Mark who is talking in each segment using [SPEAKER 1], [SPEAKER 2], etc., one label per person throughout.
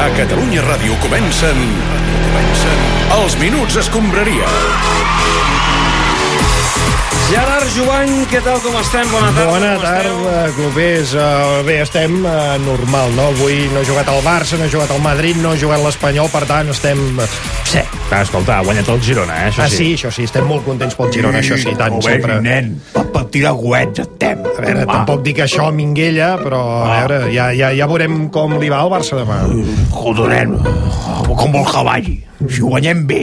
[SPEAKER 1] A Catalunya Ràdio comencen... comencen... Els Minuts Escombraria.
[SPEAKER 2] Gerard Jovany, què tal, com estem? Bona tarda.
[SPEAKER 3] Bona
[SPEAKER 2] com
[SPEAKER 3] tarda, clubers. Eh, Bé, estem eh, normal, no? Avui no ha jugat el Barça, no ha jugat el Madrid, no ha jugat l'Espanyol, per tant, estem... eh, Sec.
[SPEAKER 4] Ah, escolta, ha guanyat el Girona, eh? Això
[SPEAKER 3] Ah, sí, això sí, estem molt contents pel Girona, això sí, tant, sempre...
[SPEAKER 4] nen, per partir de goets estem.
[SPEAKER 3] A veure, tampoc dic això a Minguella, però a veure, ja, ja, ja veurem com li va al Barça demà.
[SPEAKER 4] Jodonem, com vol que vagi. Si ho guanyem bé,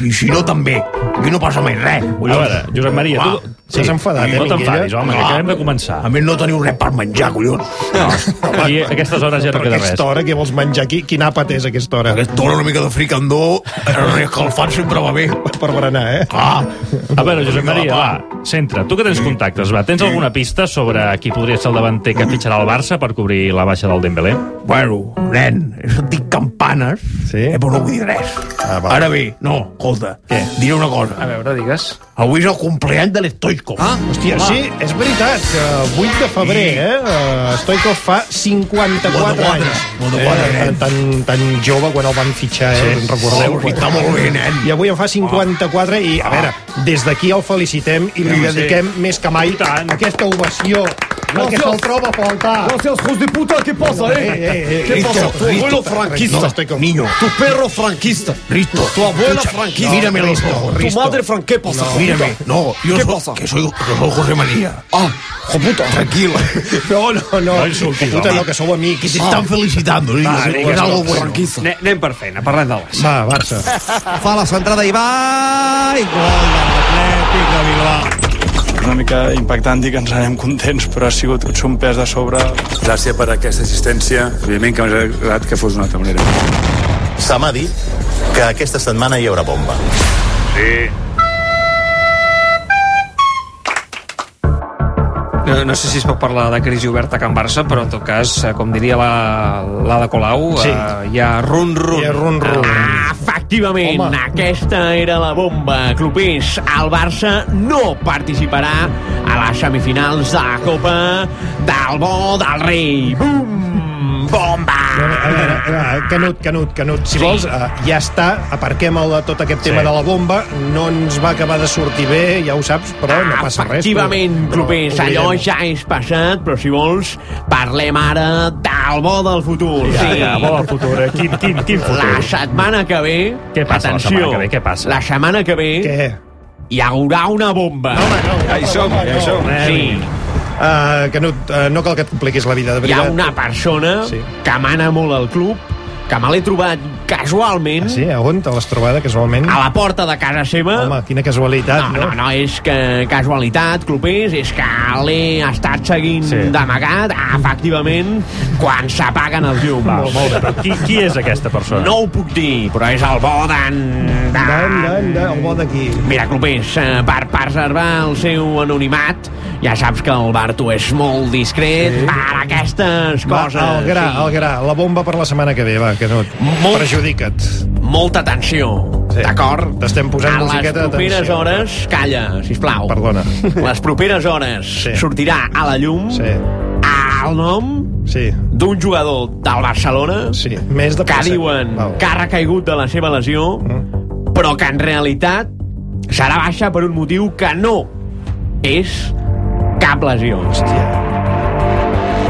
[SPEAKER 4] i si no també. Aquí no passa mai res.
[SPEAKER 5] A veure, Josep Maria, tu...
[SPEAKER 3] S'has enfadat, eh,
[SPEAKER 5] no t'enfadis,
[SPEAKER 3] Minguella?
[SPEAKER 5] home, que
[SPEAKER 4] Ah.
[SPEAKER 5] acabem de començar.
[SPEAKER 4] A més, no teniu res per menjar, collons. Ah, No.
[SPEAKER 5] I a aquestes hores ja no
[SPEAKER 3] Però
[SPEAKER 5] queda res.
[SPEAKER 3] aquesta hora, què vols menjar? Qui, quin àpat és aquesta hora?
[SPEAKER 4] Aquest hora una mica de fricandó, reescalfat sempre va bé.
[SPEAKER 3] Per berenar, eh?
[SPEAKER 4] Ah,
[SPEAKER 5] A veure, Josep
[SPEAKER 4] Vinga,
[SPEAKER 5] Maria,
[SPEAKER 4] va.
[SPEAKER 5] va, centra. Tu que tens contactes, va, tens alguna pista sobre qui podria ser el davanter que fitxarà el Barça per cobrir la baixa del Dembélé?
[SPEAKER 4] Bueno, nen, he sentit campanes,
[SPEAKER 3] Sí?
[SPEAKER 4] eh, però no vull dir res.
[SPEAKER 3] Ah, va.
[SPEAKER 4] Ara bé, no, escolta, Què? diré una cosa.
[SPEAKER 2] A veure, digues.
[SPEAKER 4] Avui és el compleany de l'Estoico. Ah,
[SPEAKER 3] Hòstia, sí, és veritat, que el 8 de febrer, eh? eh, Stoikov fa 54
[SPEAKER 4] Quatre,
[SPEAKER 3] anys.
[SPEAKER 4] quatre, quatre,
[SPEAKER 3] Eh,
[SPEAKER 4] nen.
[SPEAKER 3] tan, tan jove quan el van fitxar, eh? Sí. Recordeu?
[SPEAKER 4] Recordeu, està molt bé, nen. Ah.
[SPEAKER 3] I avui en fa 54 i, a veure, des d'aquí el felicitem i li dediquem més que mai
[SPEAKER 5] tant.
[SPEAKER 3] aquesta ovació perquè se'l troba a faltar.
[SPEAKER 2] Gracias, hijos de puta, ¿qué pasa, eh?
[SPEAKER 3] eh, eh,
[SPEAKER 2] ¿Qué
[SPEAKER 3] eh,
[SPEAKER 2] pasa?
[SPEAKER 3] Rito,
[SPEAKER 2] Tu abuelo
[SPEAKER 3] Rito, no,
[SPEAKER 2] franquista,
[SPEAKER 3] estoy con-
[SPEAKER 4] Niño,
[SPEAKER 2] tu perro franquista,
[SPEAKER 4] Risto,
[SPEAKER 2] tu abuela
[SPEAKER 4] escucha,
[SPEAKER 2] franquista.
[SPEAKER 4] Mírame los
[SPEAKER 3] Risto,
[SPEAKER 4] ojos,
[SPEAKER 2] tu
[SPEAKER 4] Risto.
[SPEAKER 2] madre franquista, ¿qué pasa? hijo de puta?
[SPEAKER 4] Mírame, no, yo
[SPEAKER 2] ¿Qué
[SPEAKER 4] soy,
[SPEAKER 2] pasa?
[SPEAKER 4] que soy, que soy José María.
[SPEAKER 2] Ah, hijo de puta.
[SPEAKER 4] Tranquilo.
[SPEAKER 3] eh. No, no, no.
[SPEAKER 5] No insultis,
[SPEAKER 3] Puta,
[SPEAKER 5] home.
[SPEAKER 3] no, que sou
[SPEAKER 4] Que
[SPEAKER 3] amics.
[SPEAKER 4] se están felicitando, niño.
[SPEAKER 2] Va,
[SPEAKER 4] es
[SPEAKER 2] digues,
[SPEAKER 4] algo
[SPEAKER 2] tu,
[SPEAKER 4] bueno.
[SPEAKER 2] franquista. Ne- Anem per feina, parlem del Barça.
[SPEAKER 3] Va, Barça.
[SPEAKER 6] fa la centrada i va... I gol de l'Atlètic de Bilbao.
[SPEAKER 7] una mica impactant dir que ens n'anem contents, però ha sigut tots un pes de sobre.
[SPEAKER 1] Gràcies per aquesta assistència. Evidentment que m'hauria agradat que fos d'una altra manera.
[SPEAKER 8] Se m'ha dit que aquesta setmana hi haurà bomba.
[SPEAKER 2] No, no sé si es pot parlar de crisi oberta a Can Barça, però en tot cas, eh, com diria la, la de Colau,
[SPEAKER 3] Sí.
[SPEAKER 2] eh, hi ha Ah. run-run.
[SPEAKER 3] I run-run.
[SPEAKER 9] Efectivament,
[SPEAKER 3] Home.
[SPEAKER 9] Home. aquesta era la bomba. Clubers, el Barça no participarà a les semifinals de la Copa del Bo del Rei. Bum!
[SPEAKER 3] A
[SPEAKER 9] Bomba!
[SPEAKER 3] veure, a veure, eh, Canut, Canut, Canut, si
[SPEAKER 9] Sí.
[SPEAKER 3] vols, eh, ja està, aparquem el, tot aquest tema
[SPEAKER 5] Sí.
[SPEAKER 3] de la bomba, no ens va acabar de sortir bé, ja ho saps, però no passa res. però-
[SPEAKER 9] Efectivament,
[SPEAKER 3] però
[SPEAKER 9] clubers,
[SPEAKER 3] ho
[SPEAKER 9] allò
[SPEAKER 3] oblidem.
[SPEAKER 9] ja és passat, però si vols, parlem ara del bo del futur.
[SPEAKER 5] Ja, ja, bo de futur, eh? Quin, quin, quin
[SPEAKER 9] La
[SPEAKER 5] futur?
[SPEAKER 9] setmana que ve...
[SPEAKER 5] Què passa la
[SPEAKER 9] atenció,
[SPEAKER 5] setmana que ve? Què passa?
[SPEAKER 9] La setmana que ve
[SPEAKER 3] Què?
[SPEAKER 9] hi haurà una bomba.
[SPEAKER 3] Home, no,
[SPEAKER 7] Ja hi som, ja hi som.
[SPEAKER 5] Eh,
[SPEAKER 9] sí.
[SPEAKER 3] Uh, Canut, uh, no cal que et compliquis la vida, de
[SPEAKER 9] Hi ha
[SPEAKER 3] veritat.
[SPEAKER 9] una persona
[SPEAKER 3] Sí.
[SPEAKER 9] sí. que mana molt al club, que me l'he trobat casualment
[SPEAKER 3] Ah, sí? A on te l'has trobada, casualment?
[SPEAKER 9] a la porta de casa seva.
[SPEAKER 3] Home, quina casualitat,
[SPEAKER 9] Ah. no, no, no, és que casualitat, clubers, és que l'he estat seguint
[SPEAKER 5] Sí.
[SPEAKER 9] sí. d'amagat, efectivament, quan s'apaguen els llums.
[SPEAKER 5] Va, molt bé, però qui, qui és aquesta persona?
[SPEAKER 9] No ho puc dir, però és el bo d'en...
[SPEAKER 3] Dan, dan, dan, el bo d'aquí.
[SPEAKER 9] Mira, clubers, eh, per preservar el seu anonimat, ja saps que el Barto és molt discret sí. per aquestes
[SPEAKER 3] Va,
[SPEAKER 9] coses.
[SPEAKER 3] el gra, el gra, la bomba per la setmana que ve, va, Canut.
[SPEAKER 9] Molt-
[SPEAKER 3] Perjudica't.
[SPEAKER 9] molta atenció,
[SPEAKER 3] Sí.
[SPEAKER 9] sí. d'acord?
[SPEAKER 3] T'estem posant
[SPEAKER 9] a les
[SPEAKER 3] musiqueta de
[SPEAKER 9] properes
[SPEAKER 3] tensió.
[SPEAKER 9] hores, calla, si plau.
[SPEAKER 3] Perdona.
[SPEAKER 9] Les properes hores
[SPEAKER 3] Sí.
[SPEAKER 9] sí. sortirà a la llum
[SPEAKER 3] Sí.
[SPEAKER 9] el nom
[SPEAKER 3] Sí,
[SPEAKER 9] d'un jugador del Barcelona
[SPEAKER 3] sí. Més de
[SPEAKER 9] que
[SPEAKER 3] pressa.
[SPEAKER 9] diuen
[SPEAKER 3] Val.
[SPEAKER 9] que ha recaigut de la seva lesió, mm. però que en realitat serà baixa per un motiu que no és cap lesió.
[SPEAKER 3] Hòstia.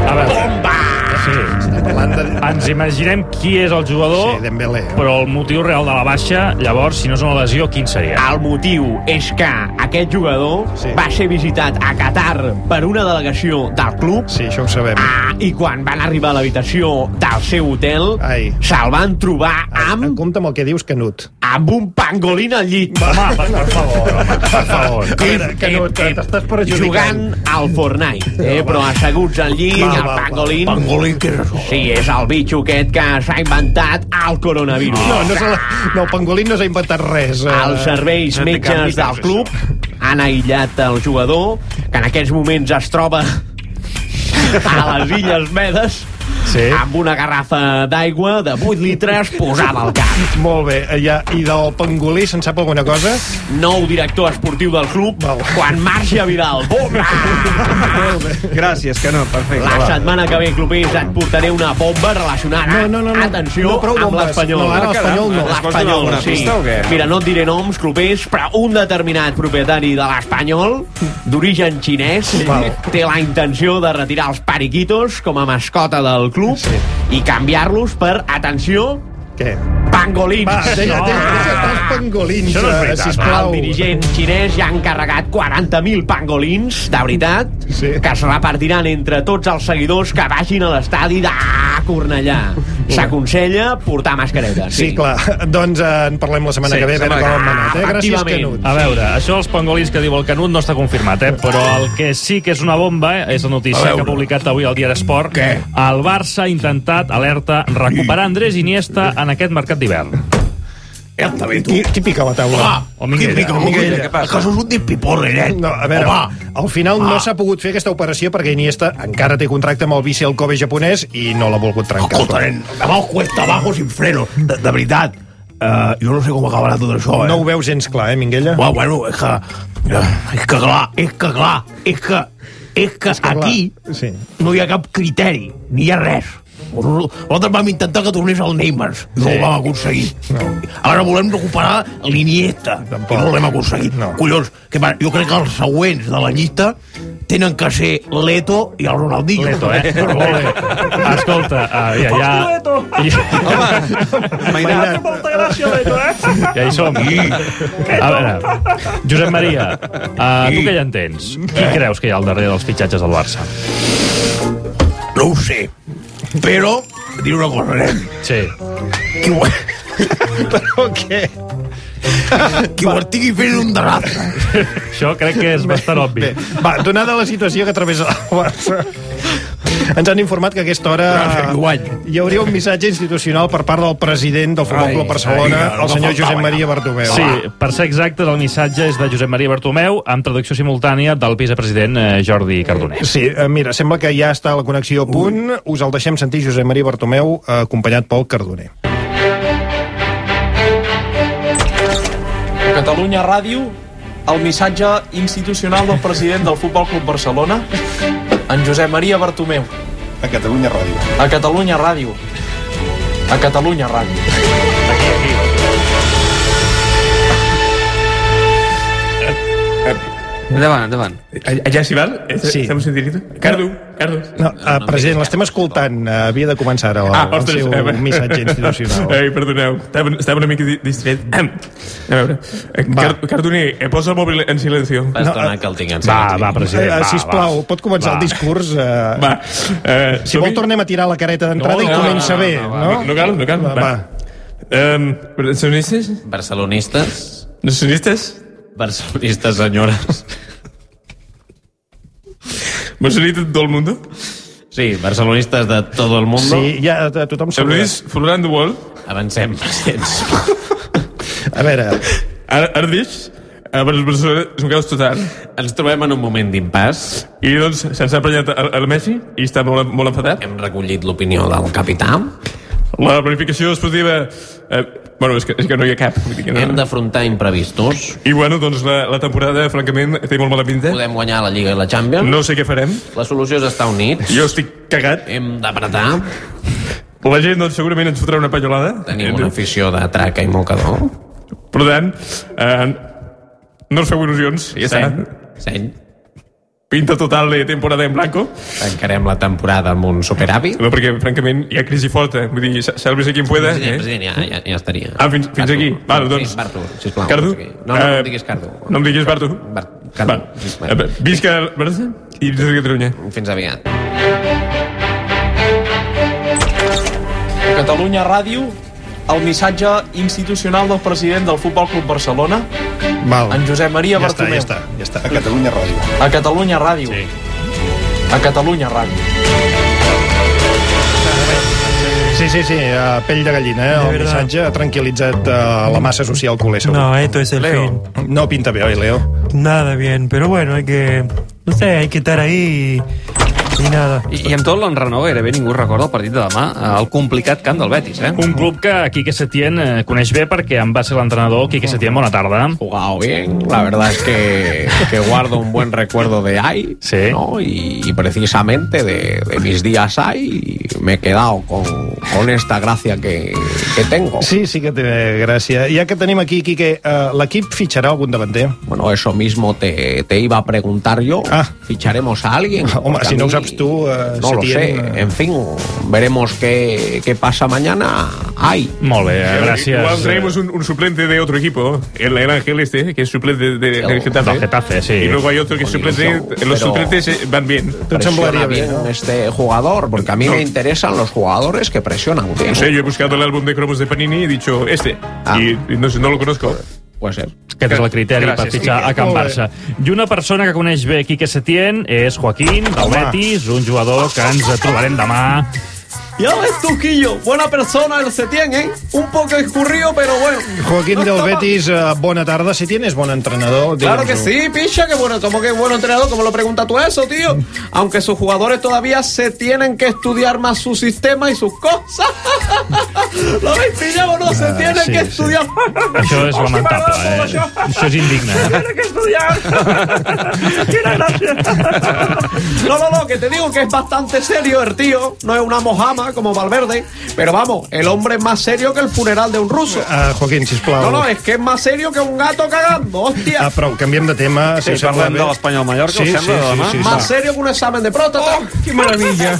[SPEAKER 5] A veure,
[SPEAKER 9] Bomba!
[SPEAKER 5] sí.
[SPEAKER 3] Parlant de...
[SPEAKER 5] Ens imaginem qui és el jugador,
[SPEAKER 3] Sí, Dembélé.
[SPEAKER 5] però el motiu real de la baixa, llavors, si no és una lesió, quin seria?
[SPEAKER 9] El motiu és que aquest jugador
[SPEAKER 3] Sí.
[SPEAKER 9] sí. va ser visitat a Qatar per una delegació del club
[SPEAKER 3] Sí, això ho sabem.
[SPEAKER 9] Ah, i quan van arribar a l'habitació del seu hotel,
[SPEAKER 3] Ai.
[SPEAKER 9] se'l van trobar
[SPEAKER 3] Amb...
[SPEAKER 9] amb,
[SPEAKER 3] Compte amb el que dius, Canut.
[SPEAKER 9] amb un pangolín al llit.
[SPEAKER 5] Home, per, per favor, home, per favor.
[SPEAKER 3] A veure, Canut,
[SPEAKER 9] Ep, ep,
[SPEAKER 3] t'estàs
[SPEAKER 9] Jugant
[SPEAKER 3] perjudicant.
[SPEAKER 9] al Fortnite, eh? però asseguts al llit,
[SPEAKER 3] Va,
[SPEAKER 9] i el
[SPEAKER 3] va, va.
[SPEAKER 9] pangolín...
[SPEAKER 4] Pangolín, què és això?
[SPEAKER 9] Sí, és el bitxo aquest que s'ha inventat el coronavirus.
[SPEAKER 3] No, no, se la... no, el pangolín no s'ha inventat res. eh.
[SPEAKER 9] Els serveis
[SPEAKER 5] no té canvi,
[SPEAKER 9] metges del club han aïllat el jugador, que en aquests moments es troba a les Illes Medes,
[SPEAKER 3] Sí.
[SPEAKER 9] amb una garrafa d'aigua de 8 litres posada al cap.
[SPEAKER 3] Molt bé. eh, Ja, I del pangolí se'n sap alguna cosa?
[SPEAKER 9] Nou director esportiu del club,
[SPEAKER 3] Val.
[SPEAKER 9] quan marxa Vidal. Bomba!
[SPEAKER 10] Gràcies, que no, perfecte.
[SPEAKER 9] La setmana que ve, clubers, et portaré una bomba relacionada,
[SPEAKER 3] No, no, no, no.
[SPEAKER 9] atenció,
[SPEAKER 3] No, prou
[SPEAKER 9] amb
[SPEAKER 3] bombes.
[SPEAKER 9] l'Espanyol.
[SPEAKER 3] No, ara
[SPEAKER 9] Ah, caram,
[SPEAKER 3] l'Espanyol no.
[SPEAKER 10] Ens pots donar
[SPEAKER 9] L'Espanyol,
[SPEAKER 10] alguna
[SPEAKER 9] sí.
[SPEAKER 10] pista o què?
[SPEAKER 9] Mira, no et diré noms, clubers, però un determinat propietari de l'Espanyol, d'origen xinès,
[SPEAKER 3] Val.
[SPEAKER 9] té la intenció de retirar els periquitos com a mascota del club i canviar-los per, atenció,
[SPEAKER 3] Què?
[SPEAKER 9] pangolins.
[SPEAKER 3] Va, deixa,
[SPEAKER 9] No.
[SPEAKER 3] deixa, deixa els pangolins,
[SPEAKER 5] Això no és
[SPEAKER 3] eh,
[SPEAKER 5] veritat.
[SPEAKER 3] sisplau.
[SPEAKER 9] El dirigent xinès ja ha encarregat 40.000 pangolins, de veritat,
[SPEAKER 3] Sí.
[SPEAKER 9] que es repartiran entre tots els seguidors que vagin a l'estadi de Cornellà. S'aconsella portar mascareta.
[SPEAKER 3] Sí, clar. Doncs eh, en parlem la setmana
[SPEAKER 10] Sí,
[SPEAKER 3] que ve, a veure
[SPEAKER 10] setmana
[SPEAKER 3] com
[SPEAKER 10] que
[SPEAKER 3] hem anat. Eh? Gràcies,
[SPEAKER 9] Efectivament.
[SPEAKER 3] Canut.
[SPEAKER 5] A veure, això dels pangolins que diu el Canut no està confirmat, eh? però el que sí que és una bomba eh, és la
[SPEAKER 11] A
[SPEAKER 5] notícia
[SPEAKER 11] veure.
[SPEAKER 5] que ha publicat avui el Diari Esport.
[SPEAKER 11] Què?
[SPEAKER 5] El Barça ha intentat, alerta, recuperar Andrés Iniesta en aquest mercat d'hivern.
[SPEAKER 12] Ja està bé, tu.
[SPEAKER 3] Qui, qui pica la taula?
[SPEAKER 12] Va,
[SPEAKER 5] O Minguella.
[SPEAKER 12] qui pica,
[SPEAKER 10] Minguella,
[SPEAKER 12] Minguella?
[SPEAKER 10] què passa?
[SPEAKER 12] Que sos un despiporre,
[SPEAKER 4] eh?
[SPEAKER 12] nen.
[SPEAKER 3] No, a veure,
[SPEAKER 12] Home, Ah.
[SPEAKER 3] al final no
[SPEAKER 12] Home.
[SPEAKER 3] s'ha pogut fer aquesta operació perquè Iniesta encara té contracte amb el bici al Kobe japonès i no l'ha volgut trencar.
[SPEAKER 12] escolta, nen, abajo cuesta abajo sin freno. De, de veritat, eh, jo no sé com acabarà tot això, eh?
[SPEAKER 3] No ho veus gens clar, eh, Minguella?
[SPEAKER 12] Bueno, bueno, és que... eh, És que clar, és que clar, és que... És que,
[SPEAKER 3] clar,
[SPEAKER 12] aquí
[SPEAKER 3] sí.
[SPEAKER 12] no hi ha cap criteri, ni hi ha res. Nosaltres vam intentar que tornés al Neymar, i no ho vam aconseguir. Ara volem recuperar l'Iniesta, i no l'hem aconseguit.
[SPEAKER 3] No.
[SPEAKER 12] Collons, que, va, jo crec que els següents de la llista tenen que ser l'Eto i el Ronaldinho.
[SPEAKER 5] Leto, eh?
[SPEAKER 12] Però molt bé.
[SPEAKER 5] Escolta, uh, ja, ja... ja...
[SPEAKER 3] Mainat.
[SPEAKER 5] Ja hi som. A veure, Josep Maria, uh, tu que ja entens, qui creus que hi ha al darrere dels fitxatges del Barça?
[SPEAKER 12] No ho sé, però... Dir una cosa, nen.
[SPEAKER 5] Sí.
[SPEAKER 12] Qui ho... Però què? Qui ho estigui fent un desastre.
[SPEAKER 5] Això crec que és bastant obvi.
[SPEAKER 3] Bé, va, donada la situació que travessa la Barça, ens han informat que a aquesta hora
[SPEAKER 12] Gràcies, Guany.
[SPEAKER 3] hi hauria un missatge institucional per part del president del Futbol Club Barcelona,
[SPEAKER 12] ai, no
[SPEAKER 3] el senyor
[SPEAKER 12] faltava,
[SPEAKER 3] Josep Maria
[SPEAKER 12] ja.
[SPEAKER 3] Bartomeu. Ah.
[SPEAKER 5] Sí, per ser exactes, el missatge és de Josep Maria Bartomeu amb traducció simultània del vicepresident eh, Jordi Cardoner.
[SPEAKER 3] Sí, eh, mira, sembla que ja està la connexió a punt. Us el deixem sentir Josep Maria Bartomeu, eh, acompanyat pel Cardoner.
[SPEAKER 13] Catalunya Ràdio, el missatge institucional del president del Futbol Club Barcelona, en Josep Maria Bartomeu.
[SPEAKER 11] A Catalunya Ràdio.
[SPEAKER 13] A Catalunya Ràdio. A Catalunya Ràdio.
[SPEAKER 10] Endavant, endavant.
[SPEAKER 14] Allà s'hi val? Eh, Sí. Estem sentint-ho? Cardo, Cardo.
[SPEAKER 3] No, eh, president, l'estem escoltant. Eh, havia de començar ara
[SPEAKER 14] Ah,
[SPEAKER 3] la, el seu
[SPEAKER 14] eh,
[SPEAKER 3] missatge institucional.
[SPEAKER 14] Ei, perdoneu, estava, estava una mica di- distret. A veure, eh,
[SPEAKER 3] Va.
[SPEAKER 14] Car Cardoner, eh, posa el mòbil en silencio.
[SPEAKER 9] Va, estona que el tinc en
[SPEAKER 5] Va, va,
[SPEAKER 3] Eh,
[SPEAKER 5] president,
[SPEAKER 3] eh,
[SPEAKER 5] va,
[SPEAKER 3] sisplau,
[SPEAKER 5] va.
[SPEAKER 3] pot començar
[SPEAKER 5] Va.
[SPEAKER 3] el discurs? Eh,
[SPEAKER 14] Va, eh,
[SPEAKER 3] si vol, tornem a tirar la careta d'entrada
[SPEAKER 14] No,
[SPEAKER 3] i
[SPEAKER 14] no,
[SPEAKER 3] comença
[SPEAKER 14] no,
[SPEAKER 3] bé,
[SPEAKER 10] no,
[SPEAKER 3] no?
[SPEAKER 14] No cal, no cal.
[SPEAKER 3] Va, va.
[SPEAKER 14] Um, barcelonistes?
[SPEAKER 9] Barcelonistes,
[SPEAKER 14] Nacionalistes?
[SPEAKER 9] barcelonistes senyores.
[SPEAKER 14] Barcelonistes de tot el mundo?
[SPEAKER 9] Sí, barcelonistes de tot el món.
[SPEAKER 3] Sí, ja eh, tothom saluda.
[SPEAKER 14] Barcelonistes from around the world?
[SPEAKER 9] Avancem.
[SPEAKER 3] A veure,
[SPEAKER 14] Ar Ardis? A Barcelona és un caos total.
[SPEAKER 9] Ens trobem en un moment d'impàs.
[SPEAKER 14] I doncs se'ns ha emprenyat el, el Messi i està molt, molt enfadat.
[SPEAKER 9] Hem recollit l'opinió del capità.
[SPEAKER 14] La planificació esportiva... Eh, bueno, és que, és que no hi ha cap. Vull dir que no.
[SPEAKER 9] Hem d'afrontar imprevistos.
[SPEAKER 14] I bueno, doncs la, la temporada, francament, té molt mala pinta.
[SPEAKER 9] Podem guanyar la Lliga i la Champions.
[SPEAKER 14] No sé què farem.
[SPEAKER 9] La solució és estar units.
[SPEAKER 14] Jo estic cagat.
[SPEAKER 9] Hem d'apretar.
[SPEAKER 14] La gent doncs, segurament ens fotrà una pallolada.
[SPEAKER 9] Tenim una afició de traca i mocador.
[SPEAKER 14] Per tant, eh, no us feu il·lusions. Ja està.
[SPEAKER 9] Seny. Seny.
[SPEAKER 14] Pinta total de temporada en blanco.
[SPEAKER 9] Tancarem la temporada amb un superàvit.
[SPEAKER 14] No, perquè, francament, hi ha crisi
[SPEAKER 15] eh?
[SPEAKER 14] forta. Vull dir, sa- sálvese quien pueda.
[SPEAKER 9] President,
[SPEAKER 14] Eh?
[SPEAKER 9] president, ja, ja, ja estaria.
[SPEAKER 14] Ah, fins, fins
[SPEAKER 9] Bartu.
[SPEAKER 14] aquí. Val, doncs...
[SPEAKER 9] Sí, Bartu, sisplau.
[SPEAKER 14] Cardo? Eh,
[SPEAKER 9] fins aquí. No, no,
[SPEAKER 15] Eh,
[SPEAKER 9] no em diguis Cardo.
[SPEAKER 14] No em diguis Bartu.
[SPEAKER 9] Bar Cardo,
[SPEAKER 14] Val.
[SPEAKER 9] sisplau.
[SPEAKER 14] Eh, Visca el Barça i visca Catalunya.
[SPEAKER 9] Fins aviat.
[SPEAKER 13] A Catalunya Ràdio, el missatge institucional del president del Futbol Club Barcelona,
[SPEAKER 3] val.
[SPEAKER 13] en Josep Maria
[SPEAKER 3] Ja està, ja
[SPEAKER 13] Bartomeu.
[SPEAKER 3] està, ja està.
[SPEAKER 11] A Catalunya Ràdio.
[SPEAKER 13] A Catalunya Ràdio. Sí. A Catalunya Ràdio.
[SPEAKER 3] Sí, sí, sí, eh, pell de gallina, eh? El missatge ha tranquil·litzat eh, la massa social culer, segur.
[SPEAKER 16] No, esto es el fin.
[SPEAKER 3] No pinta bé, oi, Leo?
[SPEAKER 16] Nada bien, pero bueno, hay que... No sé, hay que estar ahí
[SPEAKER 17] I, I amb tot l'enrenou gairebé ningú recorda el partit de demà al complicat camp del Betis, eh?
[SPEAKER 5] Un club que Quique Setién eh, coneix bé perquè en va ser l'entrenador. Quique Setién, bona tarda.
[SPEAKER 12] Jugado bien, la verdad es que, que guardo un buen recuerdo de AI, ¿no? y, y precisamente de, de mis días AI me he quedado con, con esta gracia que, que tengo.
[SPEAKER 3] Sí, sí que té gràcia. Ja que tenim aquí, Quique, eh, l'equip fitxarà algun davanter?
[SPEAKER 12] Bueno, eso mismo te, te iba a preguntar yo. ¿Ficharemos a alguien?
[SPEAKER 3] Home,
[SPEAKER 12] Porque
[SPEAKER 3] Ah. si
[SPEAKER 12] a
[SPEAKER 3] no ho
[SPEAKER 12] mí-
[SPEAKER 3] saps tu, eh,
[SPEAKER 12] No lo
[SPEAKER 3] Setién,
[SPEAKER 12] sé,
[SPEAKER 3] eh,
[SPEAKER 12] en fin, veremos qué, qué pasa mañana. Ay.
[SPEAKER 5] Molt bé,
[SPEAKER 15] Gracias. Igual
[SPEAKER 5] eh.
[SPEAKER 15] traemos un, un suplente de otro equipo, el, el Ángel este, que es suplente de, del Getafe.
[SPEAKER 5] del Getafe, sí.
[SPEAKER 15] Y luego hay otro que es suplente,
[SPEAKER 12] Condición,
[SPEAKER 15] los
[SPEAKER 12] pero-
[SPEAKER 15] suplentes eh, van bien.
[SPEAKER 12] Presiona bien este jugador, porque a mí
[SPEAKER 15] No.
[SPEAKER 12] me interesan los jugadores que presionan bien.
[SPEAKER 15] No sé, yo he buscado el álbum de cromos de Panini y he dicho este.
[SPEAKER 9] Ah.
[SPEAKER 15] Y, y no, sé, no lo conozco.
[SPEAKER 12] Puede ser.
[SPEAKER 5] Aquest és el criteri Gràcies, per fitxar a Can
[SPEAKER 15] Molt bé.
[SPEAKER 5] Barça. I una persona que coneix bé Quique Setién és Joaquín, del
[SPEAKER 18] Home.
[SPEAKER 5] Betis, un jugador que ens trobarem demà.
[SPEAKER 9] Ya ves tú, Quillo, buena persona el Setién, ¿eh? Un poco escurrido, pero bueno.
[SPEAKER 3] Joaquín del Betis, eh, bona tarda. Si tienes bon entrenador...
[SPEAKER 9] Claro
[SPEAKER 3] digue'ns-ho.
[SPEAKER 9] que sí, picha, que bueno, como que bueno entrenador, como lo preguntas tú eso, tío. Aunque sus jugadores todavía se tienen que estudiar más su sistema y sus cosas. ¿Lo habéis pillado o no? Se
[SPEAKER 5] Ah,
[SPEAKER 9] tienen
[SPEAKER 5] sí,
[SPEAKER 9] que
[SPEAKER 5] sí.
[SPEAKER 9] estudiar.
[SPEAKER 5] Això és lamentable, eh? Això és indigne. eh?
[SPEAKER 9] Tienen que estudiar. Tiene gracia. No, no, no, que te digo que es bastante serio el tío. No es una mojama como Valverde, pero vamos, el hombre es más serio que el funeral de un ruso.
[SPEAKER 3] Eh, Joaquín, sisplau.
[SPEAKER 9] No, no, es que es más serio que un gato cagando, hostia.
[SPEAKER 3] Ah, prou, canviem de tema.
[SPEAKER 17] Sí,
[SPEAKER 3] si us sembla
[SPEAKER 17] parlem
[SPEAKER 3] bé.
[SPEAKER 17] de l'Espanyol Mallorca,
[SPEAKER 3] sí,
[SPEAKER 17] us sembla,
[SPEAKER 3] sí,
[SPEAKER 17] de demà?
[SPEAKER 3] Sí, sí, sí,
[SPEAKER 9] Más serio que un examen de próstata.
[SPEAKER 2] Oh,
[SPEAKER 9] ¡Qué maravilla!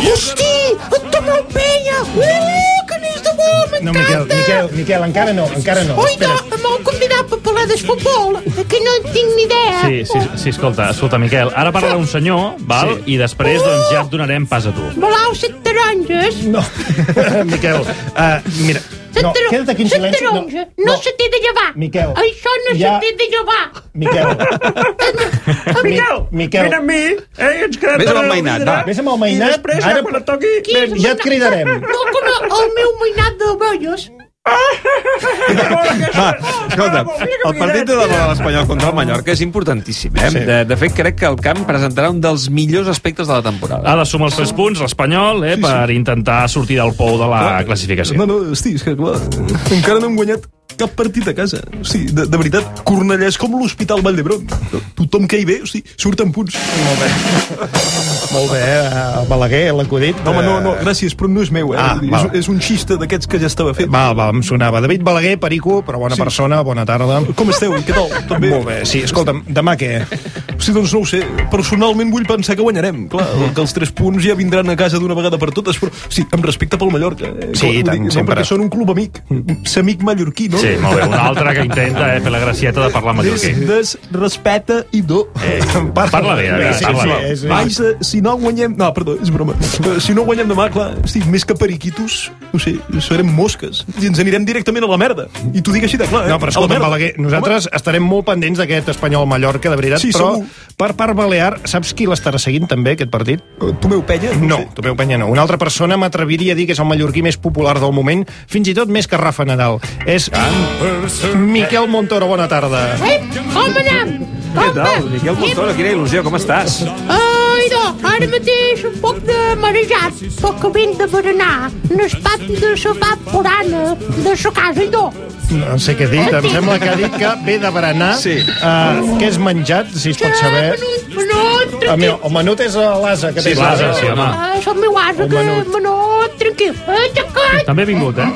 [SPEAKER 14] Hosti, et torna el penya! Uh, que n'és de bo, m'encanta!
[SPEAKER 3] No, Miquel, Miquel, Miquel, encara no, encara no.
[SPEAKER 14] Oiga, em vau convidar per parlar de futbol, que no en tinc ni idea.
[SPEAKER 5] Sí, sí, sí, escolta, escolta, Miquel, ara parla d'un senyor, val? Sí. I després, doncs, ja et donarem pas a tu.
[SPEAKER 14] Voleu set taronges?
[SPEAKER 3] No. Miquel, uh, mira... No, queda't aquí en
[SPEAKER 14] Set
[SPEAKER 3] silenci. No,
[SPEAKER 14] taronges, no, no se té de llevar.
[SPEAKER 3] Miquel,
[SPEAKER 14] Això no ja...
[SPEAKER 3] ja-
[SPEAKER 14] se té de llevar.
[SPEAKER 3] Miquel.
[SPEAKER 14] Miquel,
[SPEAKER 3] Miquel.
[SPEAKER 14] vine amb
[SPEAKER 3] mi, eh, ens quedem...
[SPEAKER 14] Vés amb el mainat, va.
[SPEAKER 3] Vés amb el mainat.
[SPEAKER 14] I després, ja quan la
[SPEAKER 3] toqui, ja et cridarem.
[SPEAKER 14] No com el- el meu mainat d'ovelles.
[SPEAKER 17] Va, escolta, el partit de demà de l'Espanyol contra el Mallorca és importantíssim, eh? Sí. De, de fet, crec que el camp presentarà un dels millors aspectes de la temporada.
[SPEAKER 5] Ha de sumar els tres punts, l'Espanyol, eh, per intentar sortir del pou de la classificació.
[SPEAKER 13] Ah, No, no, hosti, és que clar, encara no hem guanyat cap partit a casa. O sigui, de, de veritat, Cornellà és com l'Hospital Vall d'Hebron. Tothom que hi ve, o sigui, surten punts. Molt bé.
[SPEAKER 3] Molt bé, eh, Balaguer, l'acudit.
[SPEAKER 13] No, home, no, no, gràcies, però no és meu, eh?
[SPEAKER 3] Ah,
[SPEAKER 13] Vull dir,
[SPEAKER 3] val.
[SPEAKER 13] és, és un xista d'aquests que ja estava fet.
[SPEAKER 3] Val, val, em sonava. David Balaguer, perico, però bona sí. persona, bona tarda.
[SPEAKER 13] Com esteu? Què tal? Tot bé?
[SPEAKER 3] Molt bé, sí. Escolta'm, demà què?
[SPEAKER 13] O sigui, doncs no ho sé, personalment vull pensar que guanyarem. Clar,
[SPEAKER 2] Mm.
[SPEAKER 13] que els tres punts ja vindran a casa d'una vegada per totes, però sí, amb respecte pel Mallorca. Eh?
[SPEAKER 3] Sí, i
[SPEAKER 13] Vull
[SPEAKER 3] tant,
[SPEAKER 13] dir, no,
[SPEAKER 3] sempre.
[SPEAKER 13] perquè són un club amic, s'amic mallorquí, no?
[SPEAKER 5] Sí, molt bé, un altre que intenta eh, fer la gracieta de parlar mallorquí.
[SPEAKER 13] Des, respeta i do.
[SPEAKER 5] Eh, parla bé, a veure,
[SPEAKER 13] sí,
[SPEAKER 5] parla
[SPEAKER 13] sí,
[SPEAKER 5] bé.
[SPEAKER 13] sí, Vaja, si no guanyem... No, perdó, és broma. Eh, Si no guanyem demà, clar, estic més que periquitos, no sé, serem mosques i ens anirem directament a la merda. I t'ho dic així de clar, eh?
[SPEAKER 3] No, però
[SPEAKER 13] A la
[SPEAKER 3] escolta'm,
[SPEAKER 13] merda.
[SPEAKER 3] Balaguer, nosaltres Home. estarem molt pendents d'aquest Espanyol-Mallorca, de veritat,
[SPEAKER 13] Sí,
[SPEAKER 3] però
[SPEAKER 13] segur.
[SPEAKER 3] per part balear, saps qui l'estarà seguint també, aquest partit?
[SPEAKER 13] Tomeu Penya?
[SPEAKER 3] No, no Tomeu Penya no. Una altra persona m'atreviria a dir que és el mallorquí més popular del moment, fins i tot més que Rafa Nadal. És Miquel Montoro, bona tarda.
[SPEAKER 14] Ep, Eh? com anem?
[SPEAKER 17] Què tal? Miquel Montoro, quina il·lusió, com estàs?
[SPEAKER 14] Ai, no, ara mateix un poc de marejat, però que vinc de berenar, en el pati de la vaporana, de la casa, i no.
[SPEAKER 3] No sé què ha dit, em sembla que ha dit que ve de berenar, sí. uh, que és menjat, si es pot saber.
[SPEAKER 14] Menut,
[SPEAKER 3] El,
[SPEAKER 14] tranquil.
[SPEAKER 3] meu, el menut és eh, l'asa que
[SPEAKER 5] Sí,
[SPEAKER 3] té.
[SPEAKER 5] l'ase, sí, home.
[SPEAKER 14] Ah, és el meu ase, que menut, tranquil. Eh, xacat,
[SPEAKER 5] També ha vingut, eh?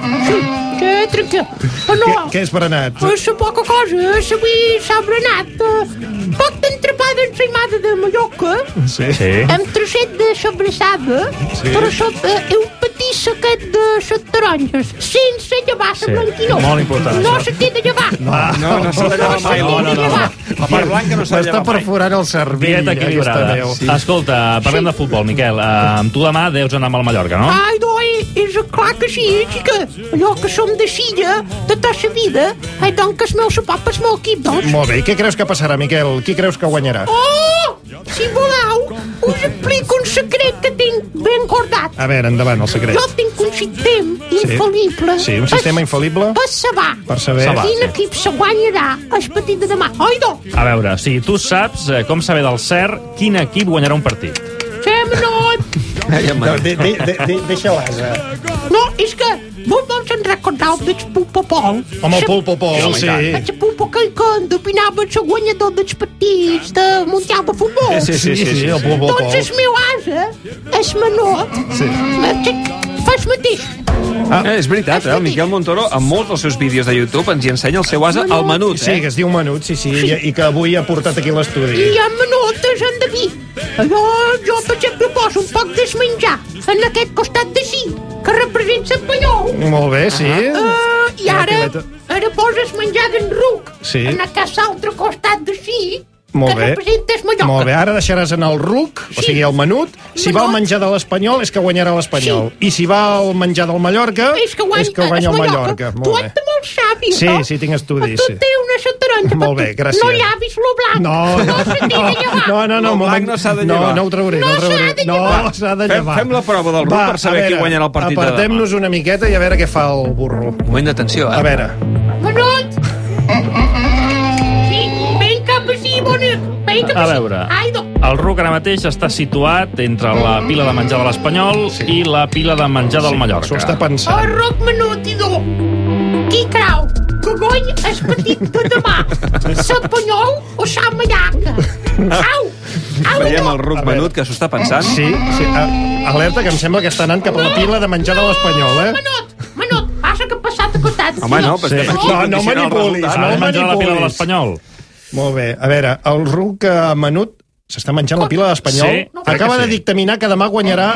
[SPEAKER 14] que tranquil. Però no,
[SPEAKER 3] Què és berenat?
[SPEAKER 14] és poca cosa, és avui s'ha berenat. eh, Poc d'entrepà d'ensaïmada de Mallorca,
[SPEAKER 3] Sí.
[SPEAKER 14] amb trosset um de sobrassada,
[SPEAKER 3] Sí.
[SPEAKER 14] però sota eh, un petit saquet de set taronges, sense llevar la
[SPEAKER 5] Sí,
[SPEAKER 14] blanquinor.
[SPEAKER 5] molt important,
[SPEAKER 14] No
[SPEAKER 5] això.
[SPEAKER 14] se té de llevar.
[SPEAKER 17] No, no s'ha de llevar mai.
[SPEAKER 14] No, no, no.
[SPEAKER 17] La part blanca no s'ha de
[SPEAKER 3] M'està
[SPEAKER 17] llevar mai.
[SPEAKER 3] perforant el cervell.
[SPEAKER 5] Dieta equilibrada.
[SPEAKER 3] aquesta veu. Ah,
[SPEAKER 5] Sí. Escolta, parlem de futbol, Miquel. Eh, amb tu demà deus anar amb el Mallorca, no?
[SPEAKER 14] Ai, e doi, és clar que sí, xica. Allò que som de silla, de tota la vida, ai, doncs que el meu suport és molt equip, doncs.
[SPEAKER 3] Molt bé, i què creus que passarà, Miquel? Qui creus que guanyarà?
[SPEAKER 14] Oh! si voleu, us explico un secret que tinc ben guardat.
[SPEAKER 3] A veure, endavant, el secret.
[SPEAKER 14] Jo tinc un sistema infal·lible.
[SPEAKER 3] Sí, un sistema infal·lible.
[SPEAKER 14] Per saber.
[SPEAKER 3] Per saber. Saber,
[SPEAKER 14] Quin
[SPEAKER 3] sí.
[SPEAKER 14] equip se guanyarà el partit de demà. Oi, no?
[SPEAKER 5] A veure, si tu saps eh, com saber del cert quin equip guanyarà un partit.
[SPEAKER 14] Fem not.
[SPEAKER 3] No, de, de, de, de, deixa l'asa.
[SPEAKER 14] No, és que vos vols en recordar del Pulpopol?
[SPEAKER 3] Home, el Pulpopol,
[SPEAKER 14] Se-
[SPEAKER 3] sí.
[SPEAKER 14] El Pulpopol que endopinava el guanyador dels partits de Mundial de Futbol.
[SPEAKER 3] Sí, sí, sí, sí, sí, el Pulpopol.
[SPEAKER 14] Doncs el meu ase, el menor,
[SPEAKER 2] Sí.
[SPEAKER 14] sí. fa el mateix.
[SPEAKER 2] Ah. Eh, és veritat, eh? el Miquel Montoro en molts dels seus vídeos de YouTube ens hi ensenya el seu ase al menut.
[SPEAKER 3] Sí,
[SPEAKER 2] Eh?
[SPEAKER 3] que es diu menut, sí, sí, i, i que avui ha portat aquí a l'estudi.
[SPEAKER 14] I hi ha menotes en David. Jo, jo, per exemple, poso un poc de menjar en aquest costat de sí, que representa Espanyol.
[SPEAKER 3] Molt bé, sí.
[SPEAKER 14] Ah, I ara, ara poses menjar d'en Ruc
[SPEAKER 3] Sí.
[SPEAKER 14] en aquest altre costat de sí,
[SPEAKER 3] Molt
[SPEAKER 14] que
[SPEAKER 3] bé.
[SPEAKER 14] representes Mallorca.
[SPEAKER 3] Molt bé, ara deixaràs anar el ruc, o sigui, el menut. Si va al menjar de l'Espanyol, és que guanyarà l'Espanyol. I si va al menjar del Mallorca,
[SPEAKER 14] És que guany-
[SPEAKER 3] guanya el
[SPEAKER 14] és
[SPEAKER 3] Mallorca.
[SPEAKER 14] Mallorca. Tu
[SPEAKER 3] Molt
[SPEAKER 14] ets
[SPEAKER 3] bé.
[SPEAKER 14] molt savi,
[SPEAKER 3] Sí,
[SPEAKER 14] no?
[SPEAKER 3] sí, tinc estudis,
[SPEAKER 14] Però
[SPEAKER 3] sí.
[SPEAKER 14] tu té una sataronja.
[SPEAKER 3] Molt bé, gràcies.
[SPEAKER 14] No llavis lo blanc.
[SPEAKER 3] No, no,
[SPEAKER 14] no, se tira llevar.
[SPEAKER 3] no, no, no, un moment.
[SPEAKER 2] no s'ha de
[SPEAKER 3] no,
[SPEAKER 2] llevar.
[SPEAKER 3] no ho trauré, no,
[SPEAKER 2] No
[SPEAKER 3] ho trauré.
[SPEAKER 2] s'ha de
[SPEAKER 3] No,
[SPEAKER 2] llevar.
[SPEAKER 3] s'ha de
[SPEAKER 2] Fem-
[SPEAKER 3] llevar.
[SPEAKER 2] fem la prova del ruc
[SPEAKER 3] Va,
[SPEAKER 2] per saber
[SPEAKER 3] a
[SPEAKER 2] qui guanyarà el partit de demà.
[SPEAKER 3] Apartem-nos una miqueta i a veure què fa el burro. Un
[SPEAKER 2] moment d'atenció, eh?
[SPEAKER 3] A veure.
[SPEAKER 14] Menut! Sí, ven cap així, bona. Ven cap
[SPEAKER 5] A
[SPEAKER 14] així.
[SPEAKER 5] veure.
[SPEAKER 14] Ai, no.
[SPEAKER 5] El RUC ara mateix està situat entre la pila de menjar de l'Espanyol sí. i la pila de menjar del Mallorca.
[SPEAKER 3] S'ho està pensant.
[SPEAKER 14] El roc menut i do. Qui creu? Que guany és petit de demà. S'apanyol o s'ha mallaca? Au! Au,
[SPEAKER 2] Veiem
[SPEAKER 14] no!
[SPEAKER 2] el ruc menut que s'ho està pensant.
[SPEAKER 3] Sí, sí. A, alerta, que em sembla que està anant cap a la pila de menjar de l'Espanyol, eh?
[SPEAKER 14] Menut, passa que ha passat a costat.
[SPEAKER 3] Home, no, però estem aquí
[SPEAKER 14] No, no,
[SPEAKER 3] condicionant el
[SPEAKER 14] manipulis.
[SPEAKER 3] resultat.
[SPEAKER 5] Ara
[SPEAKER 3] Ah, no
[SPEAKER 5] hem menjat la pila Ah, de
[SPEAKER 3] manipulis.
[SPEAKER 5] l'Espanyol.
[SPEAKER 3] Molt bé. A veure, el ruc eh, menut s'està menjant la pila de l'Espanyol.
[SPEAKER 5] Sí, crec
[SPEAKER 3] Acaba
[SPEAKER 5] que
[SPEAKER 3] de
[SPEAKER 5] sí.
[SPEAKER 3] dictaminar que demà guanyarà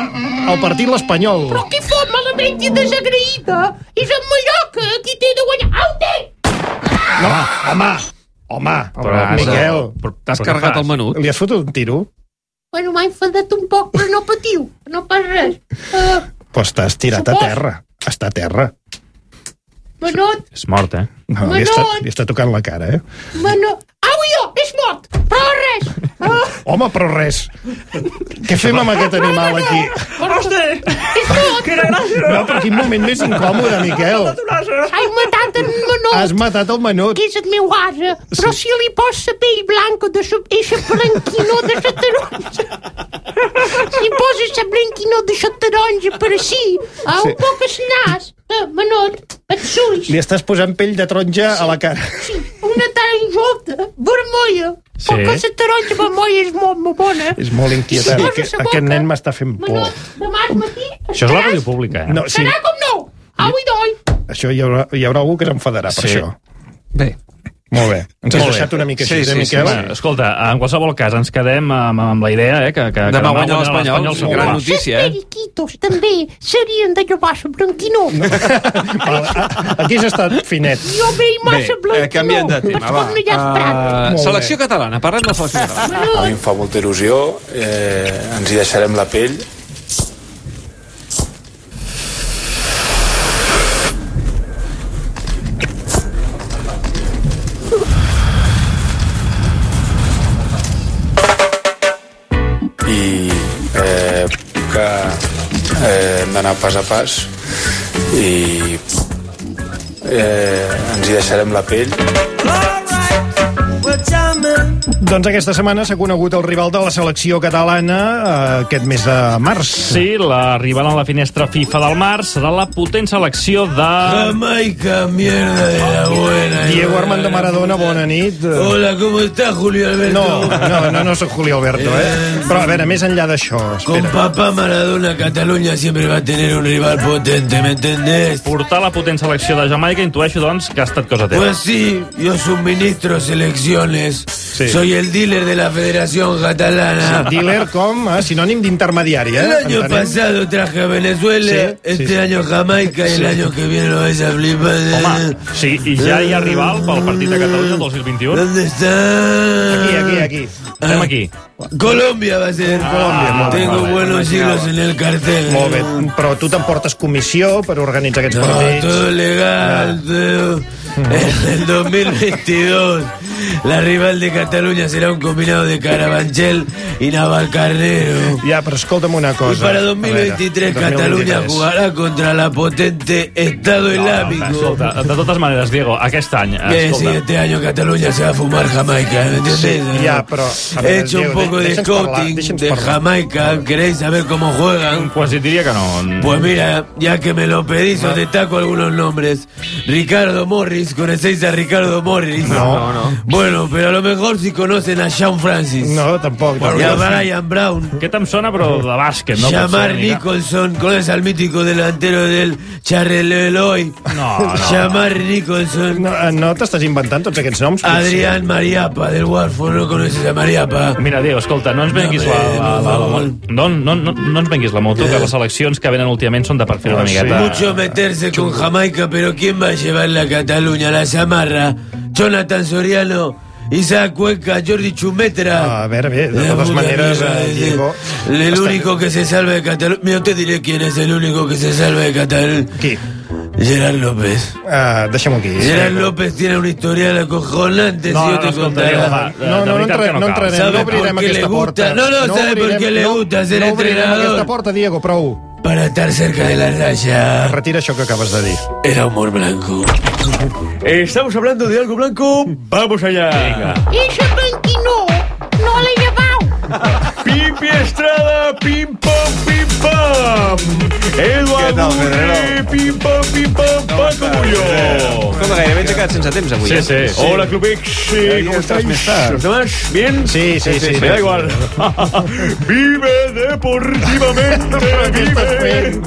[SPEAKER 3] el partit l'Espanyol.
[SPEAKER 14] Però qui fot malament i desagraïda? És en Mallorca qui té de guanyar. Au, té!
[SPEAKER 3] No, home, home, però,
[SPEAKER 2] has-
[SPEAKER 3] Miquel.
[SPEAKER 2] però t'has carregat el menut.
[SPEAKER 3] Li has fotut un tiro?
[SPEAKER 14] Bueno, m'ha enfadat un poc, però no patiu. No passa res. Uh,
[SPEAKER 3] Però estàs tirat a terra. Està a terra.
[SPEAKER 14] menut,
[SPEAKER 5] És mort, eh?
[SPEAKER 3] No, li,
[SPEAKER 14] Menut!
[SPEAKER 3] està, li està tocant la cara, eh?
[SPEAKER 14] menut... Au, jo! És mort! Però res! Ah,
[SPEAKER 3] Home, però res. Què fem amb aquest animal aquí?
[SPEAKER 14] Hosti! És mort! Quina gràcia!
[SPEAKER 3] No, però quin moment més incòmode, Miquel.
[SPEAKER 14] Ai, matat en menut.
[SPEAKER 3] Has matat el menut.
[SPEAKER 14] Que és el meu ase. Però si li posa pell blanca de sa... Eixa blanquinó de sa taronja. si posa sa blanquinó de sa taronja per així, a un
[SPEAKER 3] Sí.
[SPEAKER 14] poc es nas, eh, menut, els ulls,
[SPEAKER 3] Li estàs posant pell de taronja a la cara.
[SPEAKER 14] una taronjota, vermella, sí. perquè sa taronja vermella és molt, molt bona.
[SPEAKER 3] És molt inquietant.
[SPEAKER 14] Si
[SPEAKER 3] Sí,
[SPEAKER 14] poses la boca,
[SPEAKER 3] aquest nen m'està fent por.
[SPEAKER 14] demà al matí,
[SPEAKER 5] Això és la ràdio pública, eh?
[SPEAKER 3] No, sí,
[SPEAKER 14] serà com nou. Au i doi.
[SPEAKER 3] això hi haurà, hi haurà algú que s'enfadarà per
[SPEAKER 5] Sí.
[SPEAKER 3] això. Bé. Molt bé. Ens has deixat una mica així, eh, Miquel?
[SPEAKER 5] Bueno, escolta, en qualsevol cas, ens quedem amb, amb la idea, eh, que, que, que
[SPEAKER 2] Demà guanya l'Espanyol, és una gran
[SPEAKER 5] segur.
[SPEAKER 2] notícia, eh?
[SPEAKER 14] Quitos també serien de llevar sa blanquinó.
[SPEAKER 3] Aquí has estat finet.
[SPEAKER 14] Jo veig massa
[SPEAKER 2] Bé, eh, canviem de tema, va.
[SPEAKER 14] Vaig
[SPEAKER 2] Uh,
[SPEAKER 14] Molt
[SPEAKER 2] selecció catalana, parlem de selecció
[SPEAKER 12] Ah,
[SPEAKER 2] catalana.
[SPEAKER 19] A mi em fa molta il·lusió, eh, ens hi deixarem la pell. I eh, que eh, hem d'anar pas a pas i eh, ens hi deixarem la pell.
[SPEAKER 3] Doncs aquesta setmana s'ha conegut el rival de la selecció catalana eh, aquest mes de març.
[SPEAKER 5] Sí, l'arribada a la finestra FIFA del març serà la potent selecció de...
[SPEAKER 12] Jamaica, mierda de la buena.
[SPEAKER 3] Diego Armando Maradona, bona nit.
[SPEAKER 12] Hola, ¿cómo estás, Julio Alberto?
[SPEAKER 3] No, no, no, no soc Julio Alberto, eh? Però, a veure, més enllà d'això,
[SPEAKER 12] Con
[SPEAKER 3] espera.
[SPEAKER 12] papá Maradona, Cataluña siempre va a tener un rival potente, ¿me entendés?
[SPEAKER 5] Portar la potent selecció de Jamaica intueixo, doncs, que ha estat cosa teva.
[SPEAKER 12] Pues sí, yo suministro selecciones. Soy el dealer de la Federación Catalana.
[SPEAKER 3] Dealer com a sinònim d'intermediari, eh?
[SPEAKER 12] El año
[SPEAKER 3] Entenem.
[SPEAKER 12] pasado traje a Venezuela,
[SPEAKER 3] Sí,
[SPEAKER 12] este
[SPEAKER 3] sí.
[SPEAKER 12] año Jamaica y
[SPEAKER 3] Sí.
[SPEAKER 12] el año que viene lo vais a flipar.
[SPEAKER 5] Home, sí, i ja hi ha rival pel partit de Catalunya el 2021.
[SPEAKER 12] ¿Dónde está? Ah,
[SPEAKER 3] Aquí, aquí, aquí.
[SPEAKER 5] Estem aquí.
[SPEAKER 12] Colombia va a ser. Ah,
[SPEAKER 3] Colombia, molt bé,
[SPEAKER 12] Tengo
[SPEAKER 3] molt bé,
[SPEAKER 12] buenos
[SPEAKER 3] imaginava.
[SPEAKER 12] siglos en el cartel.
[SPEAKER 3] Molt
[SPEAKER 5] Ah,
[SPEAKER 3] bé, però tu t'emportes comissió per organitzar aquests
[SPEAKER 12] No,
[SPEAKER 3] partits.
[SPEAKER 12] todo legal, todo- En el 2022, la rival de Cataluña será un combinado de Carabanchel i Navalcarnero.
[SPEAKER 3] Ja, però escolta'm una cosa.
[SPEAKER 12] Y para 2023,
[SPEAKER 3] A veure,
[SPEAKER 12] Cataluña
[SPEAKER 3] 2023.
[SPEAKER 12] jugará contra la potente Estado Islámico.
[SPEAKER 5] Escolta, de totes maneres, Diego, aquest any...
[SPEAKER 12] Que si este año Cataluña se va a fumar Jamaica, ¿me entiendes?
[SPEAKER 5] Sí, ya, pero, a ver,
[SPEAKER 12] He hecho
[SPEAKER 5] Diego,
[SPEAKER 12] un poco
[SPEAKER 5] de-
[SPEAKER 12] de
[SPEAKER 5] déjanos parlar,
[SPEAKER 12] scouting
[SPEAKER 5] déjanos
[SPEAKER 12] de
[SPEAKER 5] parlar.
[SPEAKER 12] Jamaica. ¿Queréis saber cómo juegan?
[SPEAKER 5] Pues diría que no.
[SPEAKER 12] Pues mira, ya que me lo pedís, os destaco algunos nombres. Ricardo Morris, ¿conocéis a Ricardo Morris?
[SPEAKER 3] No, no, no.
[SPEAKER 12] Bueno, pero a lo mejor si conocen a Sean Francis.
[SPEAKER 3] No, pues, tampoc.
[SPEAKER 12] Y a Brian Brown.
[SPEAKER 5] Aquest em sona, però de bàsquet, no?
[SPEAKER 12] Llamar
[SPEAKER 5] Potser ni-
[SPEAKER 12] Nicholson, ¿conoces al mítico delantero del Charleroi?
[SPEAKER 5] No,
[SPEAKER 12] Llamar Nicholson.
[SPEAKER 3] No, eh, no t'estàs inventant tots aquests noms?
[SPEAKER 12] Adrián Mariapa, del Watford, ¿no conoces a Mariapa?
[SPEAKER 5] Mira, Diego, escolta, no ens venguis la, la, la, la, la no, no, no, no ens venguis la moto, que les eleccions que venen últimament són de perfil una miqueta...
[SPEAKER 12] Mucho meterse con Jamaica, pero ¿quién va a llevar la Cataluña? La Zamarra, Jonathan Soriano, Isaac Cuenca, Jordi Chumetra.
[SPEAKER 3] Ah, A ver, bien, de todas maneras, eh, Diego...
[SPEAKER 12] El único que se salva de Cataluña. Mira, te diré quién es el único que se salva de Cataluña.
[SPEAKER 3] ¿Quién?
[SPEAKER 12] Gerard López.
[SPEAKER 3] Ah, deixem-ho aquí.
[SPEAKER 12] Gerard López tiene una historial acojonante,
[SPEAKER 3] No,
[SPEAKER 12] si
[SPEAKER 3] no,
[SPEAKER 12] yo te
[SPEAKER 3] escolta,
[SPEAKER 12] contara.
[SPEAKER 3] Diego, va, de- No, de no, no veritat entra- que no no cal. entrarem, no
[SPEAKER 12] ¿Sabe
[SPEAKER 3] obrirem
[SPEAKER 12] por qué
[SPEAKER 3] aquesta
[SPEAKER 12] le gusta?
[SPEAKER 3] porta.
[SPEAKER 12] No, no,
[SPEAKER 3] No
[SPEAKER 12] ¿sabe por
[SPEAKER 3] obrirem-
[SPEAKER 12] qué le
[SPEAKER 3] no-
[SPEAKER 12] gusta ser
[SPEAKER 3] no obrirem
[SPEAKER 12] entrenador?
[SPEAKER 3] aquesta porta, Diego, prou.
[SPEAKER 12] Para estar cerca de la raya.
[SPEAKER 3] Retira això que acabes de dir.
[SPEAKER 12] Era humor blanco.
[SPEAKER 9] Eh,
[SPEAKER 12] Estamos hablando de algo blanco. Vamos allá.
[SPEAKER 14] Ese blanquinó no l'he llevado.
[SPEAKER 12] Pipi Estrada, pim pam, pim pam.
[SPEAKER 9] Eduard Gurri, pim pam, pim pam, Paco Bulló.
[SPEAKER 20] Com gairebé ens ha quedat sense temps avui.
[SPEAKER 9] Sí,
[SPEAKER 20] eh?
[SPEAKER 9] sí,
[SPEAKER 5] Oh,
[SPEAKER 9] sí. Hola, Clubex. eh, ¿Cómo estáis? ¿Los demás? ¿Bien?
[SPEAKER 3] Sí, sí, sí.
[SPEAKER 9] Me da igual. Vive deportivamente, vive.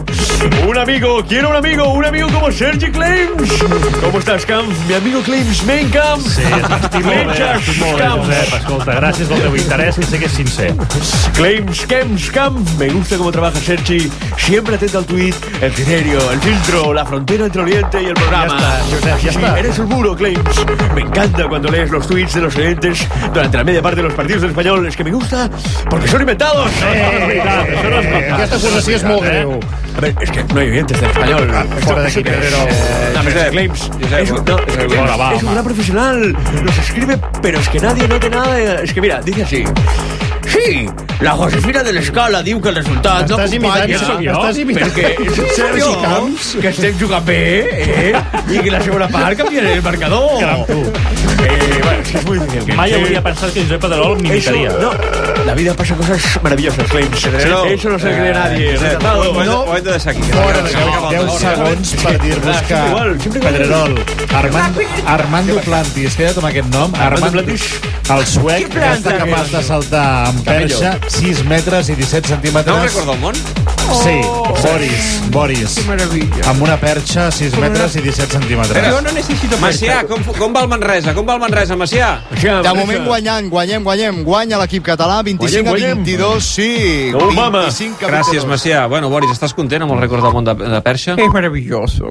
[SPEAKER 9] Un amigo, quiero un amigo, un amigo como Sergi Claims. ¿Cómo estás, Camps? Mi amigo Claims, main Camps. Sí, Metges,
[SPEAKER 5] eh? Molt bé,
[SPEAKER 9] Camps.
[SPEAKER 5] Josep, escolta, gràcies del teu interès, que sé que és sincer.
[SPEAKER 9] Claims, Camps, Camps. Me gusta cómo trabaja Sergi. Siempre atento al tweet, el criterio, el filtro, la frontera entre Oriente y el programa.
[SPEAKER 3] Ya está, Josep, ya
[SPEAKER 9] Sí,
[SPEAKER 3] está.
[SPEAKER 9] Eres un muro, Claims. Me encanta cuando lees los tweets de los oyentes durante la media parte de los partidos del español. Es que me gusta porque son inventados.
[SPEAKER 3] eh,
[SPEAKER 5] eh?
[SPEAKER 3] Aquesta acusació és
[SPEAKER 12] Eh?
[SPEAKER 3] molt greu.
[SPEAKER 9] A ver, es que no hay oyentes del español.
[SPEAKER 3] Fuera de aquí, Pedrero.
[SPEAKER 9] No, pero es eh, Claims. Es un- no, es que Claims
[SPEAKER 5] Ahora va,
[SPEAKER 9] es un gran profesional. Nos escribe, pero es que nadie nota nada. eh, Es que mira, dice así. Sí, la Josefina de l'Escala diu que el resultat no
[SPEAKER 3] Estàs
[SPEAKER 9] acompanya
[SPEAKER 3] imitant- sóc
[SPEAKER 12] eh?
[SPEAKER 3] jo?
[SPEAKER 9] perquè
[SPEAKER 3] Estàs imitant- Sergi
[SPEAKER 9] és Sergi Camps
[SPEAKER 3] Camps?
[SPEAKER 9] que estem jugant bé eh? i que la segona part canviaré el marcador
[SPEAKER 5] Caram, tu.
[SPEAKER 9] eh, bueno, és que és molt difícil
[SPEAKER 5] Mai
[SPEAKER 9] Sí.
[SPEAKER 5] hauria pensat que Josep Pedrerol m'imitaria.
[SPEAKER 9] Eso, no. La vida pasa cosas maravillosas, Claims.
[SPEAKER 20] Pedrerol.
[SPEAKER 9] Sí, eso no se lo cree
[SPEAKER 20] Eh,
[SPEAKER 9] nadie.
[SPEAKER 20] Josep, ho
[SPEAKER 9] Retratado.
[SPEAKER 20] hem de- Ho hem de deixar aquí. que
[SPEAKER 9] Fora
[SPEAKER 20] acabem
[SPEAKER 9] de
[SPEAKER 20] amb el
[SPEAKER 9] deu
[SPEAKER 20] Pedrerol.
[SPEAKER 21] segons per dir-vos
[SPEAKER 9] Clar,
[SPEAKER 21] que...
[SPEAKER 9] sempre igual, sempre igual.
[SPEAKER 21] Pedrerol, Armand, Armando Plantis, queda't amb aquest nom. Armando
[SPEAKER 9] Plantis.
[SPEAKER 21] El suec
[SPEAKER 9] Qui
[SPEAKER 21] que està
[SPEAKER 9] planta
[SPEAKER 21] capaç
[SPEAKER 9] aquest?
[SPEAKER 21] de saltar amb
[SPEAKER 9] Camello.
[SPEAKER 21] perxa 6 metres i 17 centímetres.
[SPEAKER 20] No ho Oh. recordo el món?
[SPEAKER 21] Sí, Boris, Boris. Amb una perxa 6 metres i 17 centímetres.
[SPEAKER 20] necessito Macià, com, com va el Manresa? Com va el Manresa, Macià?
[SPEAKER 22] De moment guanyant, guanyem, guanyem. Guanya l'equip català, 25
[SPEAKER 20] Guanyem,
[SPEAKER 22] a
[SPEAKER 20] guanyem.
[SPEAKER 22] 22, sí. 25 a
[SPEAKER 20] Gràcies, Macià. Bueno, Boris, estàs content amb el rècord del món de, de perxa?
[SPEAKER 23] Es maravilloso.